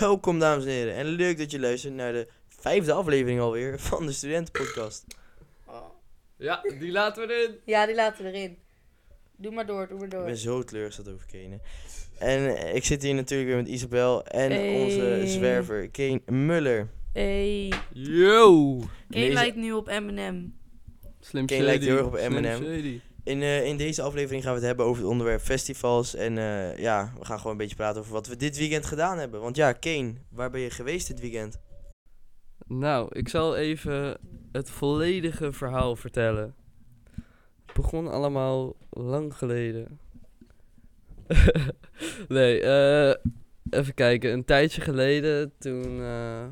Welkom dames en heren en leuk dat je luistert naar de vijfde aflevering alweer van de Studentenpodcast. Ja, die laten we erin. Ja, die laten we erin. Doe maar door, doe maar Ik door. ben zo teleurgesteld over Kane. En eh, ik zit hier natuurlijk weer met Isabel en Hey. onze zwerver Kane Muller. Hey, Yo! Kane Deze- lijkt nu op Eminem. Slim Kane Shady. lijkt heel erg op Slim Eminem. Shady. In, eh, in deze aflevering gaan we het hebben over het onderwerp festivals. En eh, ja, we gaan gewoon een beetje praten over wat we dit weekend gedaan hebben. Want ja, Kane, waar ben je geweest dit weekend? Nou, ik zal even het volledige verhaal vertellen. Het begon allemaal lang geleden. nee, eh, even kijken. Een tijdje geleden, toen eh,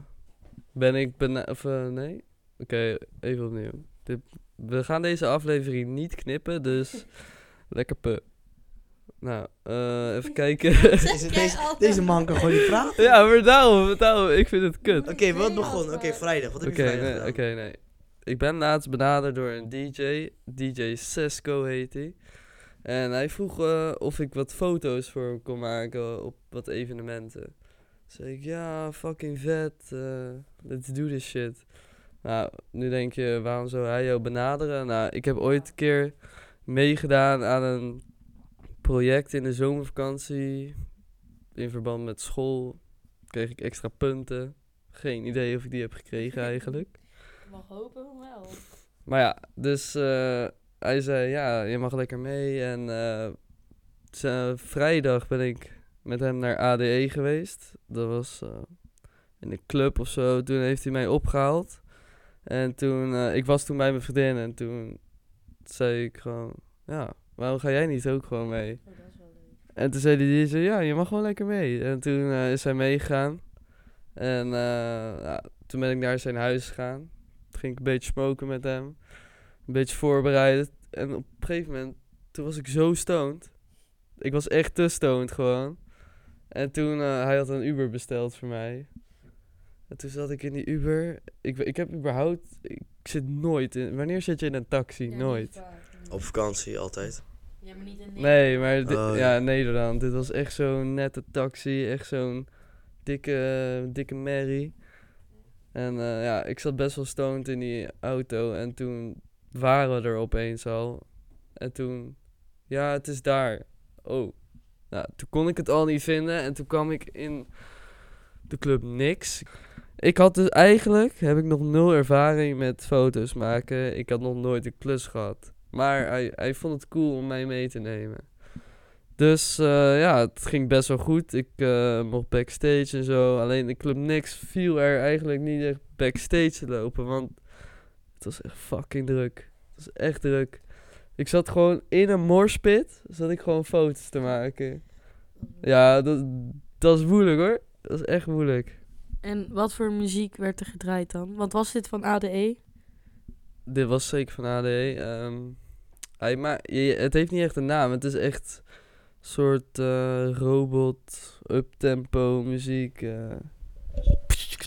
ben ik bena- Of eh, nee? Oké, even opnieuw. Dit, we gaan deze aflevering niet knippen, dus lekker pu. Nou, eh, even kijken. Is het deze, deze man kan gewoon niet praten. ja, er maar daarom, daarom, ik vind het kut. Oké, wat begon? Oké, vrijdag. Wat heb Oké, je vrijdag nee, gedaan? oké, nee. Ik ben laatst benaderd door een DJ. DJ Sesco heet hij. En hij vroeg eh, of ik wat foto's voor hem kon maken op wat evenementen. Zeg ik, ja, fucking vet. eh, let's do this shit. Nou, nu denk je, waarom zou hij jou benaderen? Nou, ik heb ooit een keer meegedaan aan een project in de zomervakantie. In verband met school kreeg ik extra punten. Geen idee of ik die heb gekregen eigenlijk. Ik mag hopen wel. Oh, Maar ja, dus eh, hij zei, ja, je mag lekker mee. En eh, z- eh, vrijdag ben ik met hem naar ADE geweest. Dat was eh, in een club of zo. Toen heeft hij mij opgehaald. En toen, eh, ik was toen bij mijn vriendin. En toen zei ik gewoon, ja, waarom ga jij niet ook gewoon mee? Oh, dat is wel leuk. En toen zei die DJ, ja, je mag wel lekker mee. En toen eh, is hij meegegaan. En eh, ja, toen ben ik naar zijn huis gegaan. Toen ging ik een beetje smoken met hem. Een beetje voorbereiden. En op een gegeven moment, toen was ik zo stoned. Ik was echt te stoned gewoon. En toen, eh, hij had een Uber besteld voor mij. En toen zat ik in die Uber. Ik, ik heb überhaupt, ik zit nooit in, wanneer zit je in een taxi? nooit. Op vakantie altijd. Ja, maar niet in Nee, maar di- Oh, ja. ja, Nederland. Dit was echt zo'n nette taxi. Echt zo'n dikke, dikke merrie. En eh, ja, ik zat best wel stoned in die auto. En toen waren we er opeens al. En toen, ja, het is daar. Oh. Nou, toen kon ik het al niet vinden. En toen kwam ik in de club niks. Ik had dus eigenlijk, heb ik nog nul ervaring met foto's maken. Ik had nog nooit een klus gehad. Maar hij, hij vond het cool om mij mee te nemen. Dus eh, ja, het ging best wel goed. Ik eh, mocht backstage en zo. Alleen de Club Nix viel er eigenlijk niet echt backstage te lopen. Want het was echt fucking druk. Het was echt druk. Ik zat gewoon in een morspit. Zat ik gewoon foto's te maken. Ja, dat, dat is moeilijk hoor. Dat is echt moeilijk. En wat voor muziek werd er gedraaid dan? Want was dit van E? ADE? Dit was zeker van ADE. ehm, hij ma- je- het heeft niet echt een naam. Het is echt soort eh, robot, uptempo muziek. eh.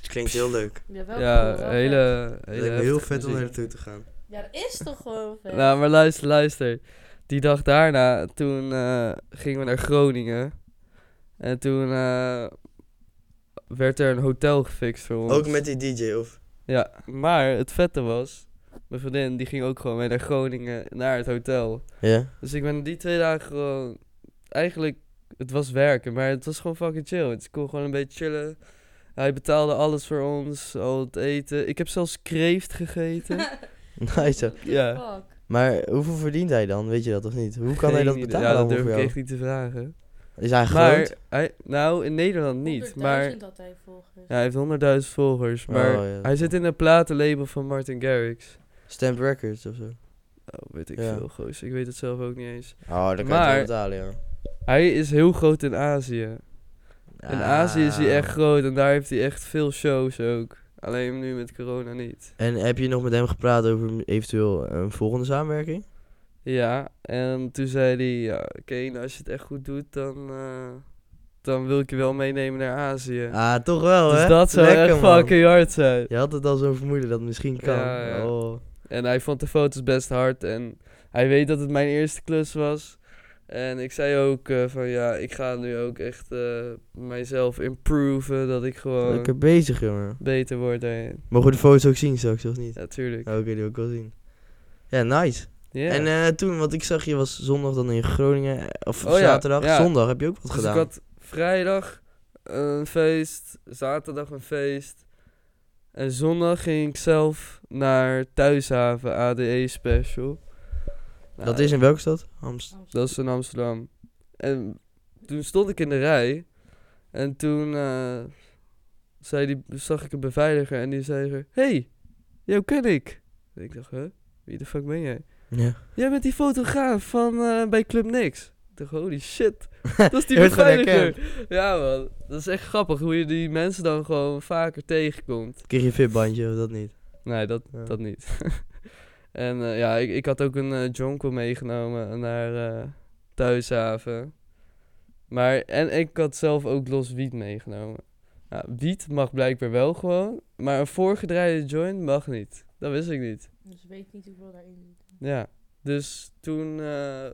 Klinkt heel leuk. Jawel. ja, hele, hele Het lijkt me heel heftige vet om muziek. daar naartoe te gaan. Ja, dat is toch gewoon vet? Nou, maar luister, luister. Die dag daarna, toen eh, gingen we naar Groningen. En toen eh, werd er een hotel gefixt voor ons. Ook met die DJ of? Ja, maar het vette was... Mijn vriendin, die ging ook gewoon mee naar Groningen, naar het hotel. Ja. Dus ik ben die twee dagen gewoon... Eigenlijk, het was werken, maar het was gewoon fucking chill. Dus ik kon gewoon een beetje chillen. Hij betaalde alles voor ons, al het eten. Ik heb zelfs kreeft gegeten. Nice. zo. ja. Fuck. Maar hoeveel verdient hij dan? Weet je dat of niet? Hoe kan hij Geen dat idee. betalen Ja, dat allemaal durf voor ik jou? echt niet te vragen. Is hij groot? Maar, hij, nou, in Nederland niet. Maar 100.000 had hij volgers. ja, hij heeft 100.000 volgers. Maar Oh, ja, dat hij is zit wel. in een platenlabel van Martin Garrix. Stamp Records of zo. Oh, weet ik Ja. veel, goos. Ik weet het zelf ook niet eens. Oh, dat kan je Maar- toch betalen, ja. Hij is heel groot in Azië. In Azië is hij Ah. echt groot en daar heeft hij echt veel shows ook. Alleen nu met corona niet. En heb je nog met hem gepraat over eventueel een volgende samenwerking? Ja, en toen zei hij, ja, Kane, als je het echt goed doet, dan, eh, dan wil ik je wel meenemen naar Azië. Ah, toch wel, dus hè? dat zou Lekker, echt man. fucking hard zijn. Je had het al zo vermoeden dat het misschien kan. Ja, ja. Oh. En hij vond de foto's best hard. En hij weet dat het mijn eerste klus was. En ik zei ook eh, van ja, ik ga nu ook echt eh, mijzelf improven. Dat ik gewoon Lekker bezig, jongen. beter word daarin. Mogen we de foto's ook zien straks, of niet? Natuurlijk. Oh, Oké, die wil ik wel zien. Ja, nice. Ja. En eh, toen, want ik zag je was zondag dan in Groningen, eh, of Oh ja, zaterdag. ja. Zondag heb je ook wat Dus gedaan. ik had vrijdag een feest, zaterdag een feest. En zondag ging ik zelf naar Thuishaven ADE Special. Nou, Dat is in welke stad? Amst. Oh, Dat is in Amsterdam. En toen stond ik in de rij. En toen eh, zei die, zag ik een beveiliger en die zei er... Hey, jou ken ik. En ik dacht, huh? Wie de fuck ben jij? Ja. Jij bent die fotograaf van eh, bij Club Nix. Ik dacht, holy shit. Dat is die Je werd gewoon beveiliger. Ja man, dat is echt grappig hoe je die mensen dan gewoon vaker tegenkomt. Kreeg je een fitbandje of dat niet? Nee, dat, Ja. dat niet. en eh, ja, ik, ik had ook een eh jonko meegenomen naar eh, Thuishaven. Maar, en ik had zelf ook los wiet meegenomen. Nou, wiet mag blijkbaar wel gewoon, maar een voorgedraaide joint mag niet. Dat wist ik niet. Dus weet niet hoeveel daarin Ja, dus toen eh,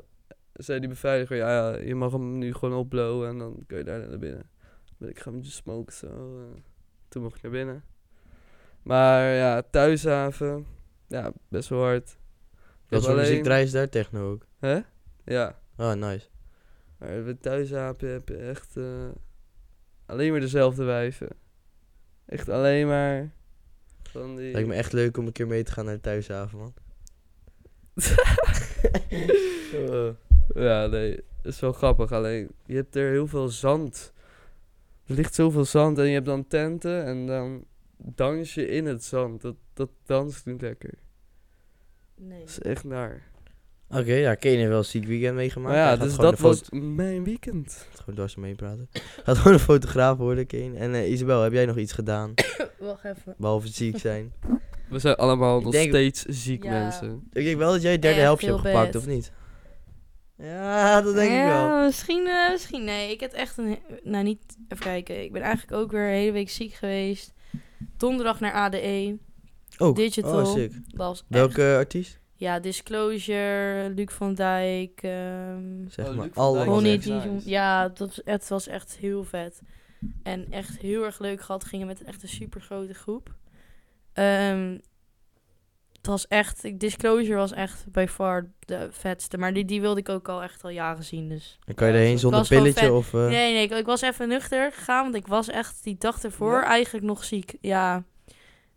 zei die beveiliger, ja, ja, je mag hem nu gewoon opblowen en dan kun je daarna naar binnen. Dan ben ik gaan met je smoken zo. eh. toen mocht ik naar binnen. Maar ja, thuishaven, ja, best wel hard. Ik heb Dat soort alleen- muziek draaien dus ze daar techno ook. Hè? Ja, Oh, nice. maar bij thuishaven heb je echt eh, alleen maar dezelfde wijven. Echt alleen maar van die... Lijkt me echt leuk om een keer mee te gaan naar de thuishaven, man. Eh, Ja, nee, dat is wel grappig. Alleen, je hebt er heel veel zand. Er ligt zoveel zand en je hebt dan tenten en dan dans je in het zand. Dat, dat danst niet lekker. Nee. Dat is echt naar. Oké, ja, Kane heeft wel een ziek weekend meegemaakt. Maar ja, Hij gaat dus gewoon dat de foto- was mijn weekend. Gewoon dwars mee praten. Gaat gewoon een fotograaf worden, Kane. En eh, Isabel, heb jij nog iets gedaan? Wacht even. Behalve ziek zijn. We zijn allemaal Ik nog denk- steeds ziek Ja. mensen. Ik denk wel dat jij het derde Echt helftje heel hebt gepakt, bad. of niet? Ja, Ah, dat denk ik wel. Misschien, eh, misschien nee. Ik heb echt een... he- Nou, niet... Even kijken. Ik ben eigenlijk ook weer een hele week ziek geweest. Donderdag naar ADE. Oh, Digital. Oh, sick. Dat was echt- Welke artiest? Ja, Disclosure, Luc van Dijk, ehm Zeg maar, Oh, Luc van Dijk. allemaal. was Ronnie zeg. echt nice. Dijon. Ja, dat was, het was echt heel vet. En echt heel erg leuk gehad. Gingen met echt een super grote groep. Ehm, het was echt... ik- Disclosure was echt by far de vetste. Maar die, die wilde ik ook al echt al jaren zien, dus... Dan kan je erheen zonder was gewoon pilletje vet. of... eh, Nee, nee, ik, ik was even nuchter gegaan, want ik was echt die dag ervoor Ja. eigenlijk nog ziek. Ja.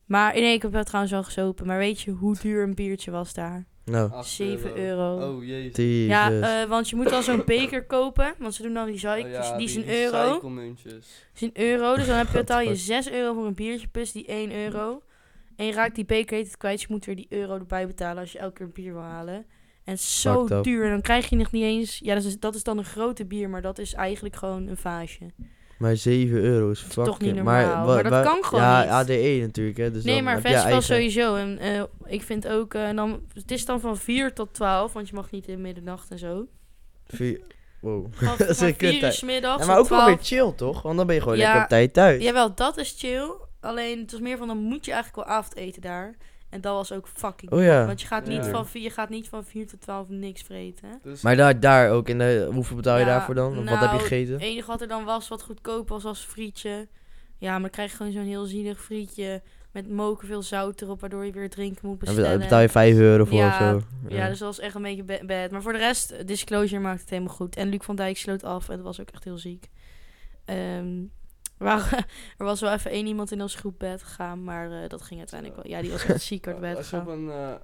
Maar nee, ik heb wel trouwens wel gezopen. Maar weet je hoe duur een biertje was daar? Nou, 7 euro. Oh jezus. die Ja, eh, want je moet dan zo'n beker kopen. Want ze doen dan die Oh zeik, ja, die, is een die euro. recyclemuntjes. is een euro. Dus dan heb je, betaal je fuck. 6 euro voor een biertje plus die 1 euro. En je raakt die beker heet het kwijt. Dus je moet weer die euro erbij betalen als je elke keer een bier wil halen. En zo Fucked up. duur. En dan krijg je nog niet eens... Ja, dat is, dat is dan een grote bier. Maar dat is eigenlijk gewoon een vaasje. maar 7 euro is fucking... toch niet wa- normaal. Maar dat wa- kan gewoon Ja, niet. ADE natuurlijk, hè. Dus nee, dan maar heb je festival eigen- sowieso. En eh, ik vind ook... eh, dan, het is dan van 4 tot 12. Want je mag niet in middernacht en zo. Vier- Wow. Van, Dat is van een 4 uur kuttijd. 's middags Ja, maar tot ook wel 12. weer chill, toch? Want dan ben je gewoon Ja, lekker op tijd thuis. Jawel, dat is chill. Alleen het was meer van dan moet je eigenlijk wel avondeten daar. En dat was ook fucking. Oh ja. Want je gaat, niet Ja. van vier, je gaat niet van 4 tot 12 niks vreten. hè. Dus Maar daar, daar ook, en eh, hoeveel betaal je Ja, daarvoor dan? Of wat heb je nou, gegeten? Het enige wat er dan was wat goedkoop was, was frietje. Ja, maar dan krijg je gewoon zo'n heel zielig frietje. Met moken veel zout erop, waardoor je weer drinken moet Daar bestellen. betaal je 5 euro voor Ja, of zo. Ja, dus dat was echt een beetje ba- bad. Maar voor de rest, eh, Disclosure maakte het helemaal goed. En Luc van Dijk sloot af en dat was ook echt heel ziek. Ehm, we waren- er was wel even één iemand in onze groep bed gegaan, maar eh, dat ging uiteindelijk wel. Ja, die was echt ziek uit bed als je, op gegaan. een, eh,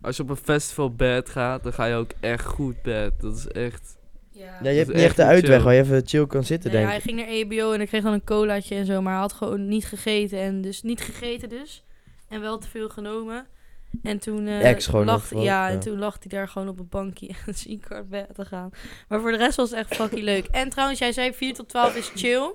als je op een festival bed gaat, dan ga je ook echt goed bed. Dat is echt... Ja, Ja, je Dat hebt is niet echt echt de niet uitweg chill. waar je even chill kan zitten, Nee, denk hij ik. ging naar EBO en hij kreeg dan een colaatje en zo, maar hij had gewoon niet gegeten. En dus niet gegeten dus. En wel te veel genomen. En toen, eh, Ex gewoon lag, of wat, ja, ja. en toen lag hij daar gewoon op een bankje en ziek hard weg te gaan. Maar voor de rest was het echt fucking leuk. En trouwens, jij zei 4 tot 12 is chill.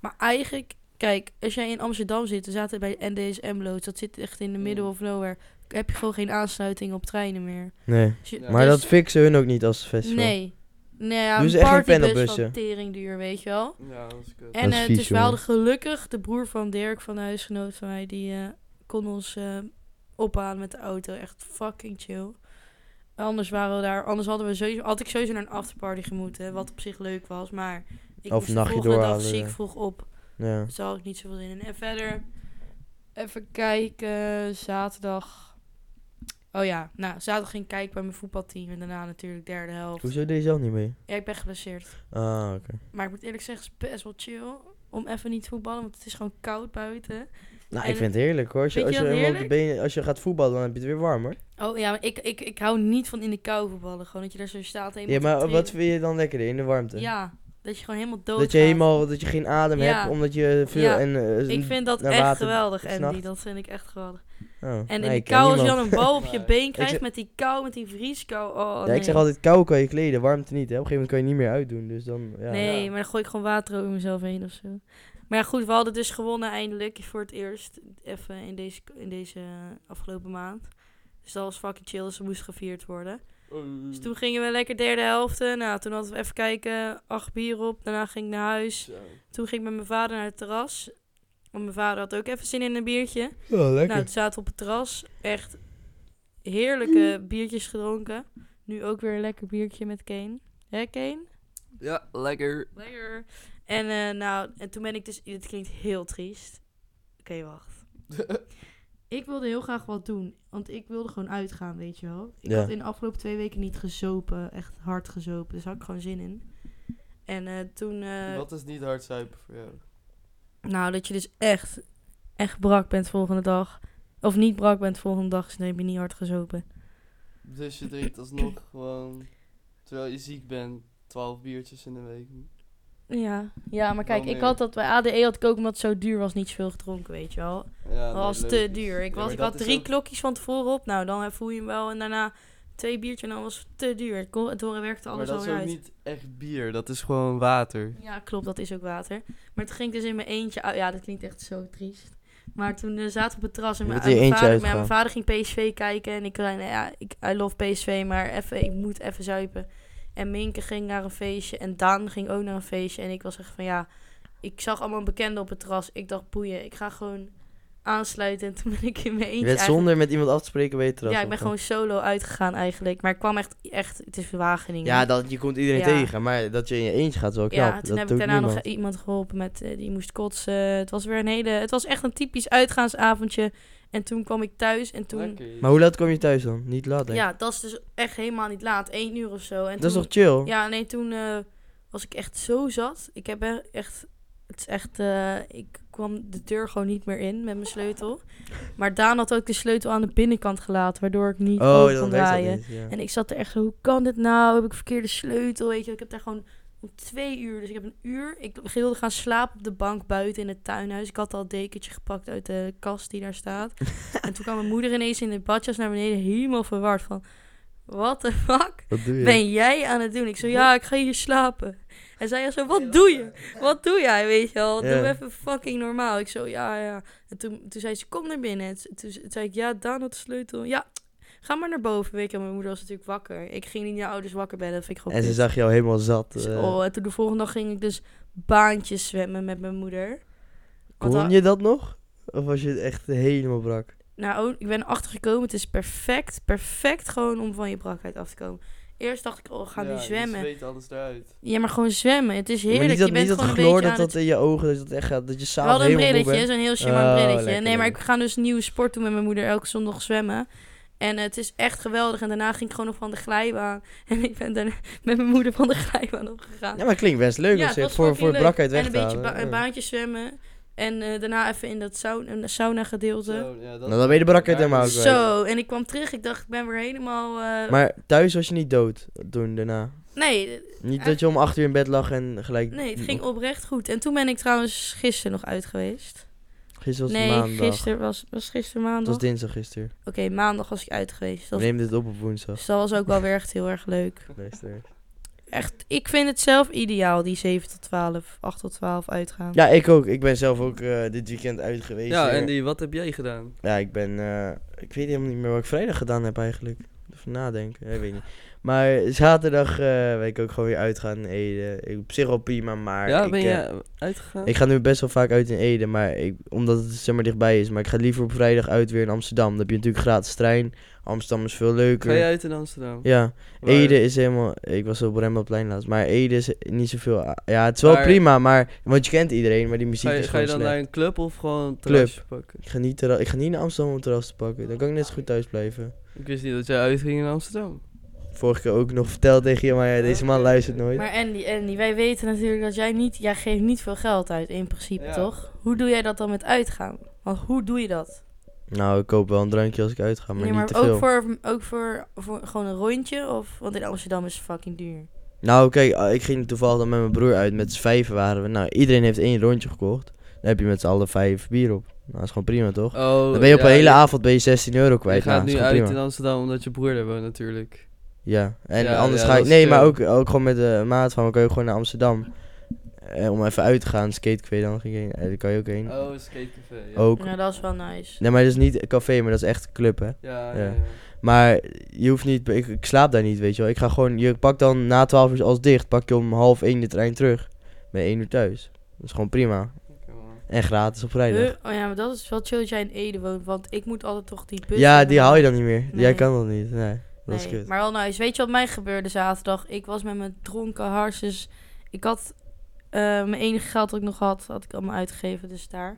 Maar eigenlijk, kijk, als jij in Amsterdam zit, we zaten bij NDSM loods, dat zit echt in de middle of nowhere. Heb je gewoon geen aansluiting op treinen meer. Nee. Dus je- Ja. Maar dus- dat fixen hun ook niet als festival. Nee. Nee, ja, Doen een ze echt geen partybus panelbussen? van teringduur, weet je wel. Ja, dat is kut. Dat En is eh, vies, dus we hadden jongen. gelukkig de broer van Dirk, van de huisgenoot van mij, die eh, kon ons eh, ophalen met de auto. Echt fucking chill. Anders waren we daar, anders hadden we sowieso, had ik sowieso naar een afterparty gemoeten, wat op zich leuk was, maar ik Of moest de nachtje volgende dag doorhalen, ziek ja. vroeg op. Ja. Dus daar had ik niet zoveel zin in. En verder, even kijken, zaterdag. Oh ja, nou, zaterdag ging ik kijken bij mijn voetbalteam. En daarna natuurlijk derde helft. Hoezo deed je zelf niet mee? Ja, ik ben geblesseerd. Ah, oké. Maar ik moet eerlijk zeggen, het is best wel chill om even niet te voetballen. Want het is gewoon koud buiten. Nou, En- ik vind het heerlijk hoor. Als je, Vind als je je, dat helemaal op de benen, als je gaat voetballen, dan heb je het weer warm hoor. Oh ja, maar ik, ik, ik hou niet van in de kou voetballen. Gewoon dat je daar zo staat helemaal Ja, te maar wat trillen. vind je dan lekker in de warmte? Ja, dat je gewoon helemaal dood dat je helemaal, dat je geen adem Ja. hebt, omdat je veel Ja. en... eh, Ik vind dat naar echt water geweldig, Andy. s'nachts. Dat vind ik echt geweldig. oh, En nee, in de ik ken kou, als je niemand. dan een bal op je Nee. been krijgt zeg- met die kou, met die vrieskou. Oh, Ja, nee. ik zeg altijd, kou kan je kleden, warmte niet. Hè? Op een gegeven moment kan je niet meer uitdoen, dus dan... Ja. nee, ja. maar dan gooi ik gewoon water over mezelf heen of zo. Maar ja, goed, we hadden dus gewonnen eindelijk voor het eerst. Even in deze, in deze eh, afgelopen maand. Dus dat was fucking chill, dus we moest gevierd worden. Oh, Dus toen gingen we lekker derde helft. Nou, toen hadden we even kijken, acht bier op. Daarna ging ik naar huis. Toen ging ik met mijn vader naar het terras. Want mijn vader had ook even zin in een biertje. Oh, lekker. Nou, toen zaten we op het terras. Echt heerlijke biertjes gedronken. Nu ook weer een lekker biertje met Kane. Hè, Kane? Ja, lekker. Lekker. En eh, nou, en toen ben ik dus... Dit klinkt heel triest. Oké, wacht. ik wilde heel graag wat doen. Want ik wilde gewoon uitgaan, weet je wel. Ik Ja. had in de afgelopen twee weken niet gezopen. Echt hard gezopen. Dus had ik gewoon zin in. En eh, toen... eh, Wat is niet hard zuipen voor jou? nou, dat je dus echt, echt brak bent volgende dag. Of niet brak bent volgende dag. Dus dan heb je niet hard gezopen. Dus je drinkt alsnog gewoon, terwijl je ziek bent, 12 biertjes in de week. Ja, ja maar kijk, Wel ik meer. had dat bij ADE had ik ook omdat het zo duur was niet zoveel gedronken, weet je wel. Ja, Dat was leuk te is- duur. Ik, Ja, was, maar ik dat had is drie ook- klokjes van tevoren op. Nou, dan voel je hem wel. En daarna twee biertjes en dan was het te duur. Het kon- En toen werkte Maar alles dat is alweer ook uit. niet echt bier, dat is gewoon water. Ja, klopt. Dat is ook water. Maar toen ging ik dus in mijn eentje uit. Ja, dat klinkt echt zo triest. Maar toen eh, zaten we op het terras en Je mijn, bent in je mijn eentje vader, ja, mijn uitgegaan. vader ging PSV kijken. En ik zei, nou ja, ik, I love PSV, maar even, ik moet even zuipen. En Minke ging naar een feestje en Daan ging ook naar een feestje. En ik was echt van, ja, ik zag allemaal bekenden op het terras. Ik dacht, boeien, ik ga gewoon aansluiten. En toen ben ik in mijn eentje je bent eigenlijk- zonder met iemand af te spreken bij je terras Ja, ik ben opgegaan. gewoon solo uitgegaan eigenlijk. Maar ik kwam echt, echt het is Wageningen. Ja, dat, je komt iedereen Ja. tegen, maar dat je in je eentje gaat is wel knap. Ja, toen dat heb ik doet daarna nog niemand. iemand geholpen met eh, die moest kotsen. Het was weer een hele. Het was echt een typisch uitgaansavondje. En toen kwam ik thuis en toen. Lekker. Maar hoe laat kom je thuis dan? Niet laat, denk ik. Ja, dat is dus echt helemaal niet laat. 1 uur of zo. En dat is toen, toch chill? Ja, nee, toen eh, was ik echt zo zat. Ik heb e- echt. Het is echt. eh, ik kwam de deur gewoon niet meer in met mijn sleutel. Maar Daan had ook de sleutel aan de binnenkant gelaten, waardoor ik niet oh, open kon dan werkt dat draaien. niet. Ja. En ik zat er echt zo, hoe kan dit nou? Heb ik verkeerde sleutel? Weet je, ik heb daar gewoon om twee uur, dus ik heb een uur. Ik wilde gaan slapen op de bank buiten in het tuinhuis. Ik had al het dekentje gepakt uit de kast die daar staat. en toen kwam mijn moeder ineens in de badjas naar beneden, helemaal verward van... What the fuck Wat doe je? ben jij aan het doen? Ik zo, ja, ik ga hier slapen. En zij zo, wat doe je? Wat doe jij, weet je wel? Doe Ja. even fucking normaal. Ik zo, ja, ja. En toen, toen zei ze, kom naar binnen. En toen, toen zei ik, ja, Daan had de sleutel. Ja, ga maar naar boven. Weet je, mijn moeder was natuurlijk wakker. Ik ging niet naar ouders wakker bellen. Dat vind ik gewoon En ze kut. zag jou helemaal zat. Dus, eh, oh, en toen de volgende dag ging ik dus baantjes zwemmen met mijn moeder. Want kon haar- je dat nog? Of was je echt helemaal brak? Nou, oh, ik ben achtergekomen. Het is perfect, perfect gewoon om van je brakheid af te komen. Eerst dacht ik, oh, ga Ja, nu zwemmen. Je zweet alles eruit. Ja, maar gewoon zwemmen. Het is maar heerlijk. niet dat, je bent niet dat gewoon een gloor, beetje dat aan het... dat in je ogen, dat, je dat echt gaat, dat je We s'avonds hadden een helemaal moe brilletje, bent. zo'n heel chimaan Oh, brilletje. lekker, nee, maar ik lekker. ga dus een nieuwe sport doen met mijn moeder elke zondag zwemmen. En eh, het is echt geweldig. En daarna ging ik gewoon nog van de glijbaan. En ik ben daarna met mijn moeder van de glijbaan opgegaan. Ja, maar het klinkt best leuk Ja, als het je was het voor, fucking voor leuk. brakheid weg En een te beetje halen. ba- een ja. baantje zwemmen. En eh, daarna even in dat sauna, sauna gedeelte. Zo, ja, dus- dat Nou, dan ben je de brakheid Daar- helemaal Zo, kwijt. en ik kwam terug. Ik dacht, ik ben weer helemaal... eh, Maar thuis was je niet dood toen daarna. nee, Niet dat je om acht uur in bed lag en gelijk... nee, het ging oprecht goed. En toen ben ik trouwens gisteren nog uit geweest. Gisteren was nee, maandag. gisteren was, was gisteren Het maandag. was dinsdag gisteren. Oké, maandag was ik uit geweest. We Dat nemen dit op op woensdag. Dus dat was ook wel weer echt heel erg leuk. luister. Echt, ik vind het zelf ideaal, die 7 tot 12, 8 tot 12 uitgaan. Ja, ik ook. Ik ben zelf ook eh, dit weekend uit geweest. Ja, weer. Andy, wat heb jij gedaan? Ja, ik ben... eh, ik weet helemaal niet meer wat ik vrijdag gedaan heb eigenlijk. Even nadenken. Ik weet niet. Maar zaterdag eh weet ik ook gewoon weer uitgaan in Ede. Ik, op zich wel prima, maar ja, ik, ben eh, je uitgegaan? ik ga nu best wel vaak uit in Ede, maar ik, omdat het zeg maar dichtbij is. Maar ik ga liever op vrijdag uit weer in Amsterdam. Dan heb je natuurlijk gratis trein. Amsterdam is veel Ga leuker. je uit in Amsterdam? Ja, Waar- eh, Ede is helemaal... Ik was op Rembrandtplein laatst, maar Ede is niet zoveel... a- Ja, het is wel Maar- prima, maar... Want je kent iedereen, maar die muziek Ga je, is ga je gewoon slecht. dan naar een club of gewoon een Club. terrasje pakken? Ik, ga niet terra- ik ga niet naar Amsterdam om terras te pakken. Dan kan ik net zo goed thuis blijven. Ik wist niet dat jij uitging in Amsterdam. Vorige keer ook nog verteld tegen je, maar ja, deze man luistert nooit. Maar Andy, Andy, wij weten natuurlijk dat jij niet... Jij geeft niet veel geld uit in principe, Ja. toch? Hoe doe jij dat dan met uitgaan? Want hoe doe je dat? Nou, ik koop wel een drankje als ik uitga, maar Nee, niet te veel. ook, voor, ook voor, voor gewoon een rondje? Of, want in Amsterdam is het fucking duur. Nou, kijk, ah, ik ging toevallig dan met mijn broer uit. Met z'n vijven waren we. Nou, iedereen heeft één rondje gekocht. Dan heb je met z'n allen vijf bier op. Nou, dat is gewoon prima, toch? Oh, Dan ben je op ja, een hele je- avond ben je 16 euro Je kwijt. gaat nou, dat nu is uit gewoon prima. in Amsterdam omdat je broer daar woont natuurlijk. Ja, en Ja, anders ja, ga dat ik. is Nee, maar chill. ook, ook gewoon met de maat van. We kunnen ook gewoon naar Amsterdam. Eh, om even uit te gaan. Skate café dan ging ik heen. Eh, daar kan je ook heen. Oh, skatecafé. Ja. ook. Nou, dat is wel nice. Nee, maar dat is niet een café, maar dat is echt een club, hè. Ja, Ja. ja. ja, Maar je hoeft niet. Ik, ik slaap daar niet, weet je wel. Ik ga gewoon. Je pakt dan na 12 uur als dicht. Pak je om half 1 de trein terug. Ben je 1 uur thuis. Dat is gewoon prima. Oké, man. En gratis op vrijdag. Huh? Oh ja, maar dat is wel chill dat jij in Ede woont. Want ik moet altijd toch die bus... Ja, hebben. die haal je dan niet meer. Jij Nee. kan dat niet. Nee, dat is Nee, kut. maar wel nice. Weet je wat mij gebeurde zaterdag? Ik was met mijn dronken harses. Ik had eh, mijn enige geld dat ik nog had, had ik allemaal uitgegeven, dus daar.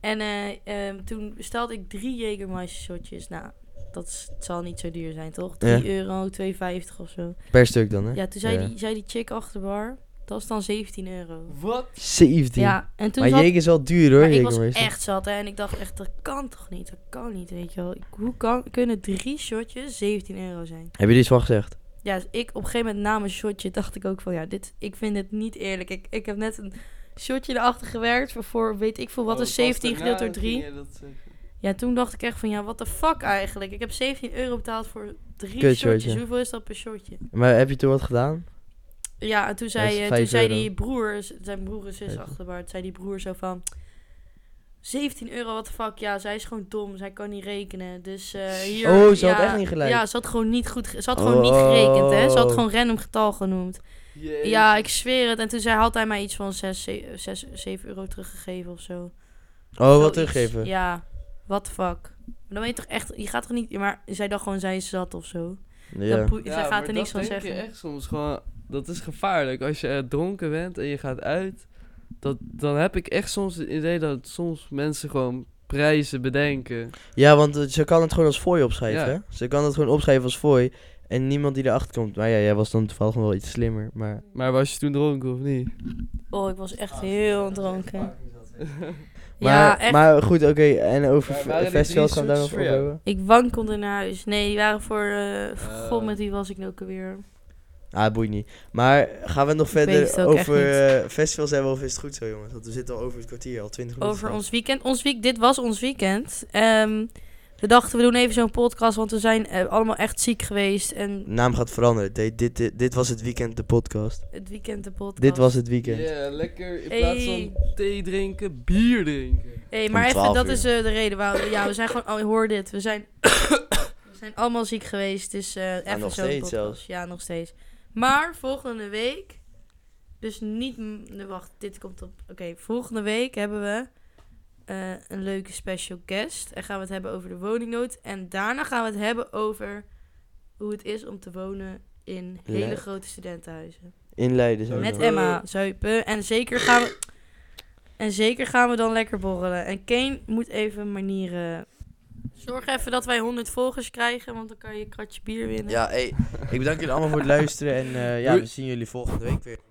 En eh, ehm, toen bestelde ik drie Jägermeister shotjes. Nou, dat is- het zal niet zo duur zijn, toch? 3 Ja. euro, 2,50 of zo. Per stuk dan, hè? Ja, toen zei, Ja. Die, zei die chick achter de bar, dat is dan 17 euro. Wat? 17. Ja, en toen maar zat- Jeek is wel duur hoor, maar ik was Jägermeister. echt zat hè, en ik dacht echt, dat kan toch niet? Dat kan niet, weet je wel. Ik- Hoe kan, kunnen drie shotjes 17 euro zijn? Heb je er iets van gezegd? Ja, dus ik op een gegeven moment na mijn shotje dacht ik ook van ja, dit, ik vind het niet eerlijk. Ik, ik heb net een shotje erachter gewerkt voor, voor weet ik veel wat, Oh, is pas 17 gedeeld door daarna ging 3. jij dat zeggen. Ja, toen dacht ik echt van ja, what the fuck eigenlijk. Ik heb 17 euro betaald voor drie Kut shotjes. shotje. Hoeveel is dat per shotje? Maar heb je toen wat gedaan? Ja, en toen Dat is zei, eh, toen vijf zei euro. die broer, z- zijn broer en zus Vijf. achter de bar, toen zei die broer zo van 17 euro, what the fuck. Ja, zij is gewoon dom, zij kan niet rekenen. Dus eh, hier... Oh, ze ja, had echt niet gelijk. Ja, ze had gewoon niet goed, ge- ze had gewoon niet gerekend hè. Ze had Oh. gewoon random getal genoemd. Jezus. Ja, ik zweer het. En toen zei, had hij mij iets van 6, 7 euro teruggegeven of zo. Oh, wat Zoiets. teruggeven. Ja, what the fuck. Maar dan weet je toch echt, je gaat toch niet, maar zij dacht gewoon, zij is zat of zo. Ja. Dan poe- zij maar gaat er niks dat van denk je zeggen. echt soms gewoon. Dat is gevaarlijk. Als je eh, dronken bent en je gaat uit, dat, dan heb ik echt soms het idee dat soms mensen gewoon prijzen bedenken. ja, want eh, ze kan het gewoon als fooi opschrijven. Ja. Hè? Ze kan het gewoon opschrijven als fooi. En niemand die erachter komt. Maar ja, jij was dan toevallig nog wel iets slimmer. Maar... Maar was je toen dronken of niet? Oh, ik was Ah, echt heel dronken. Maar, Ja, echt. maar goed, oké. En over Maar f- waren die festivals drie gaan we daar nog zoets over voor jou? hebben. Ik wankelde naar huis. Nee, die waren voor, eh, Eh. god, met wie was ik nou ook alweer? Ah, boeit niet. Maar gaan we het nog weet het verder ook echt over niet. eh, festivals hebben of is het goed zo, jongens? Want we zitten al over het kwartier, al 20 minuten. Over straks. ons weekend. Ons week, dit was ons weekend. Ehm, we dachten, we doen even zo'n podcast, want we zijn eh, allemaal echt ziek geweest. En naam gaat veranderen. Dit, dit, dit, dit was het weekend, de podcast. het weekend de podcast. Dit was het Ja, weekend. lekker. In plaats Hey. van thee drinken, bier drinken. Hey, Om maar even, 12 dat uur. is eh, de reden waarom. Ja, we zijn gewoon. Oh, hoor dit. We zijn, we zijn allemaal ziek geweest. Dus eh even nog zo'n steeds podcast. zelfs. Ja, nog steeds. Maar volgende week. Dus niet. m- nee, Wacht, dit komt op. Oké, volgende week hebben we eh, een leuke special guest. En gaan we het hebben over de woningnood. En daarna gaan we het hebben over hoe het is om te wonen in hele Ja. grote studentenhuizen. In Leiden. zijn we Met nog. Emma zuipen. En zeker gaan we. En zeker gaan we dan lekker borrelen. En Kane moet even manieren. Zorg even dat wij 100 volgers krijgen, want dan kan je een kratje bier winnen. Ja, hey, ik bedank jullie allemaal voor het luisteren. En eh, ja, we zien jullie volgende week weer.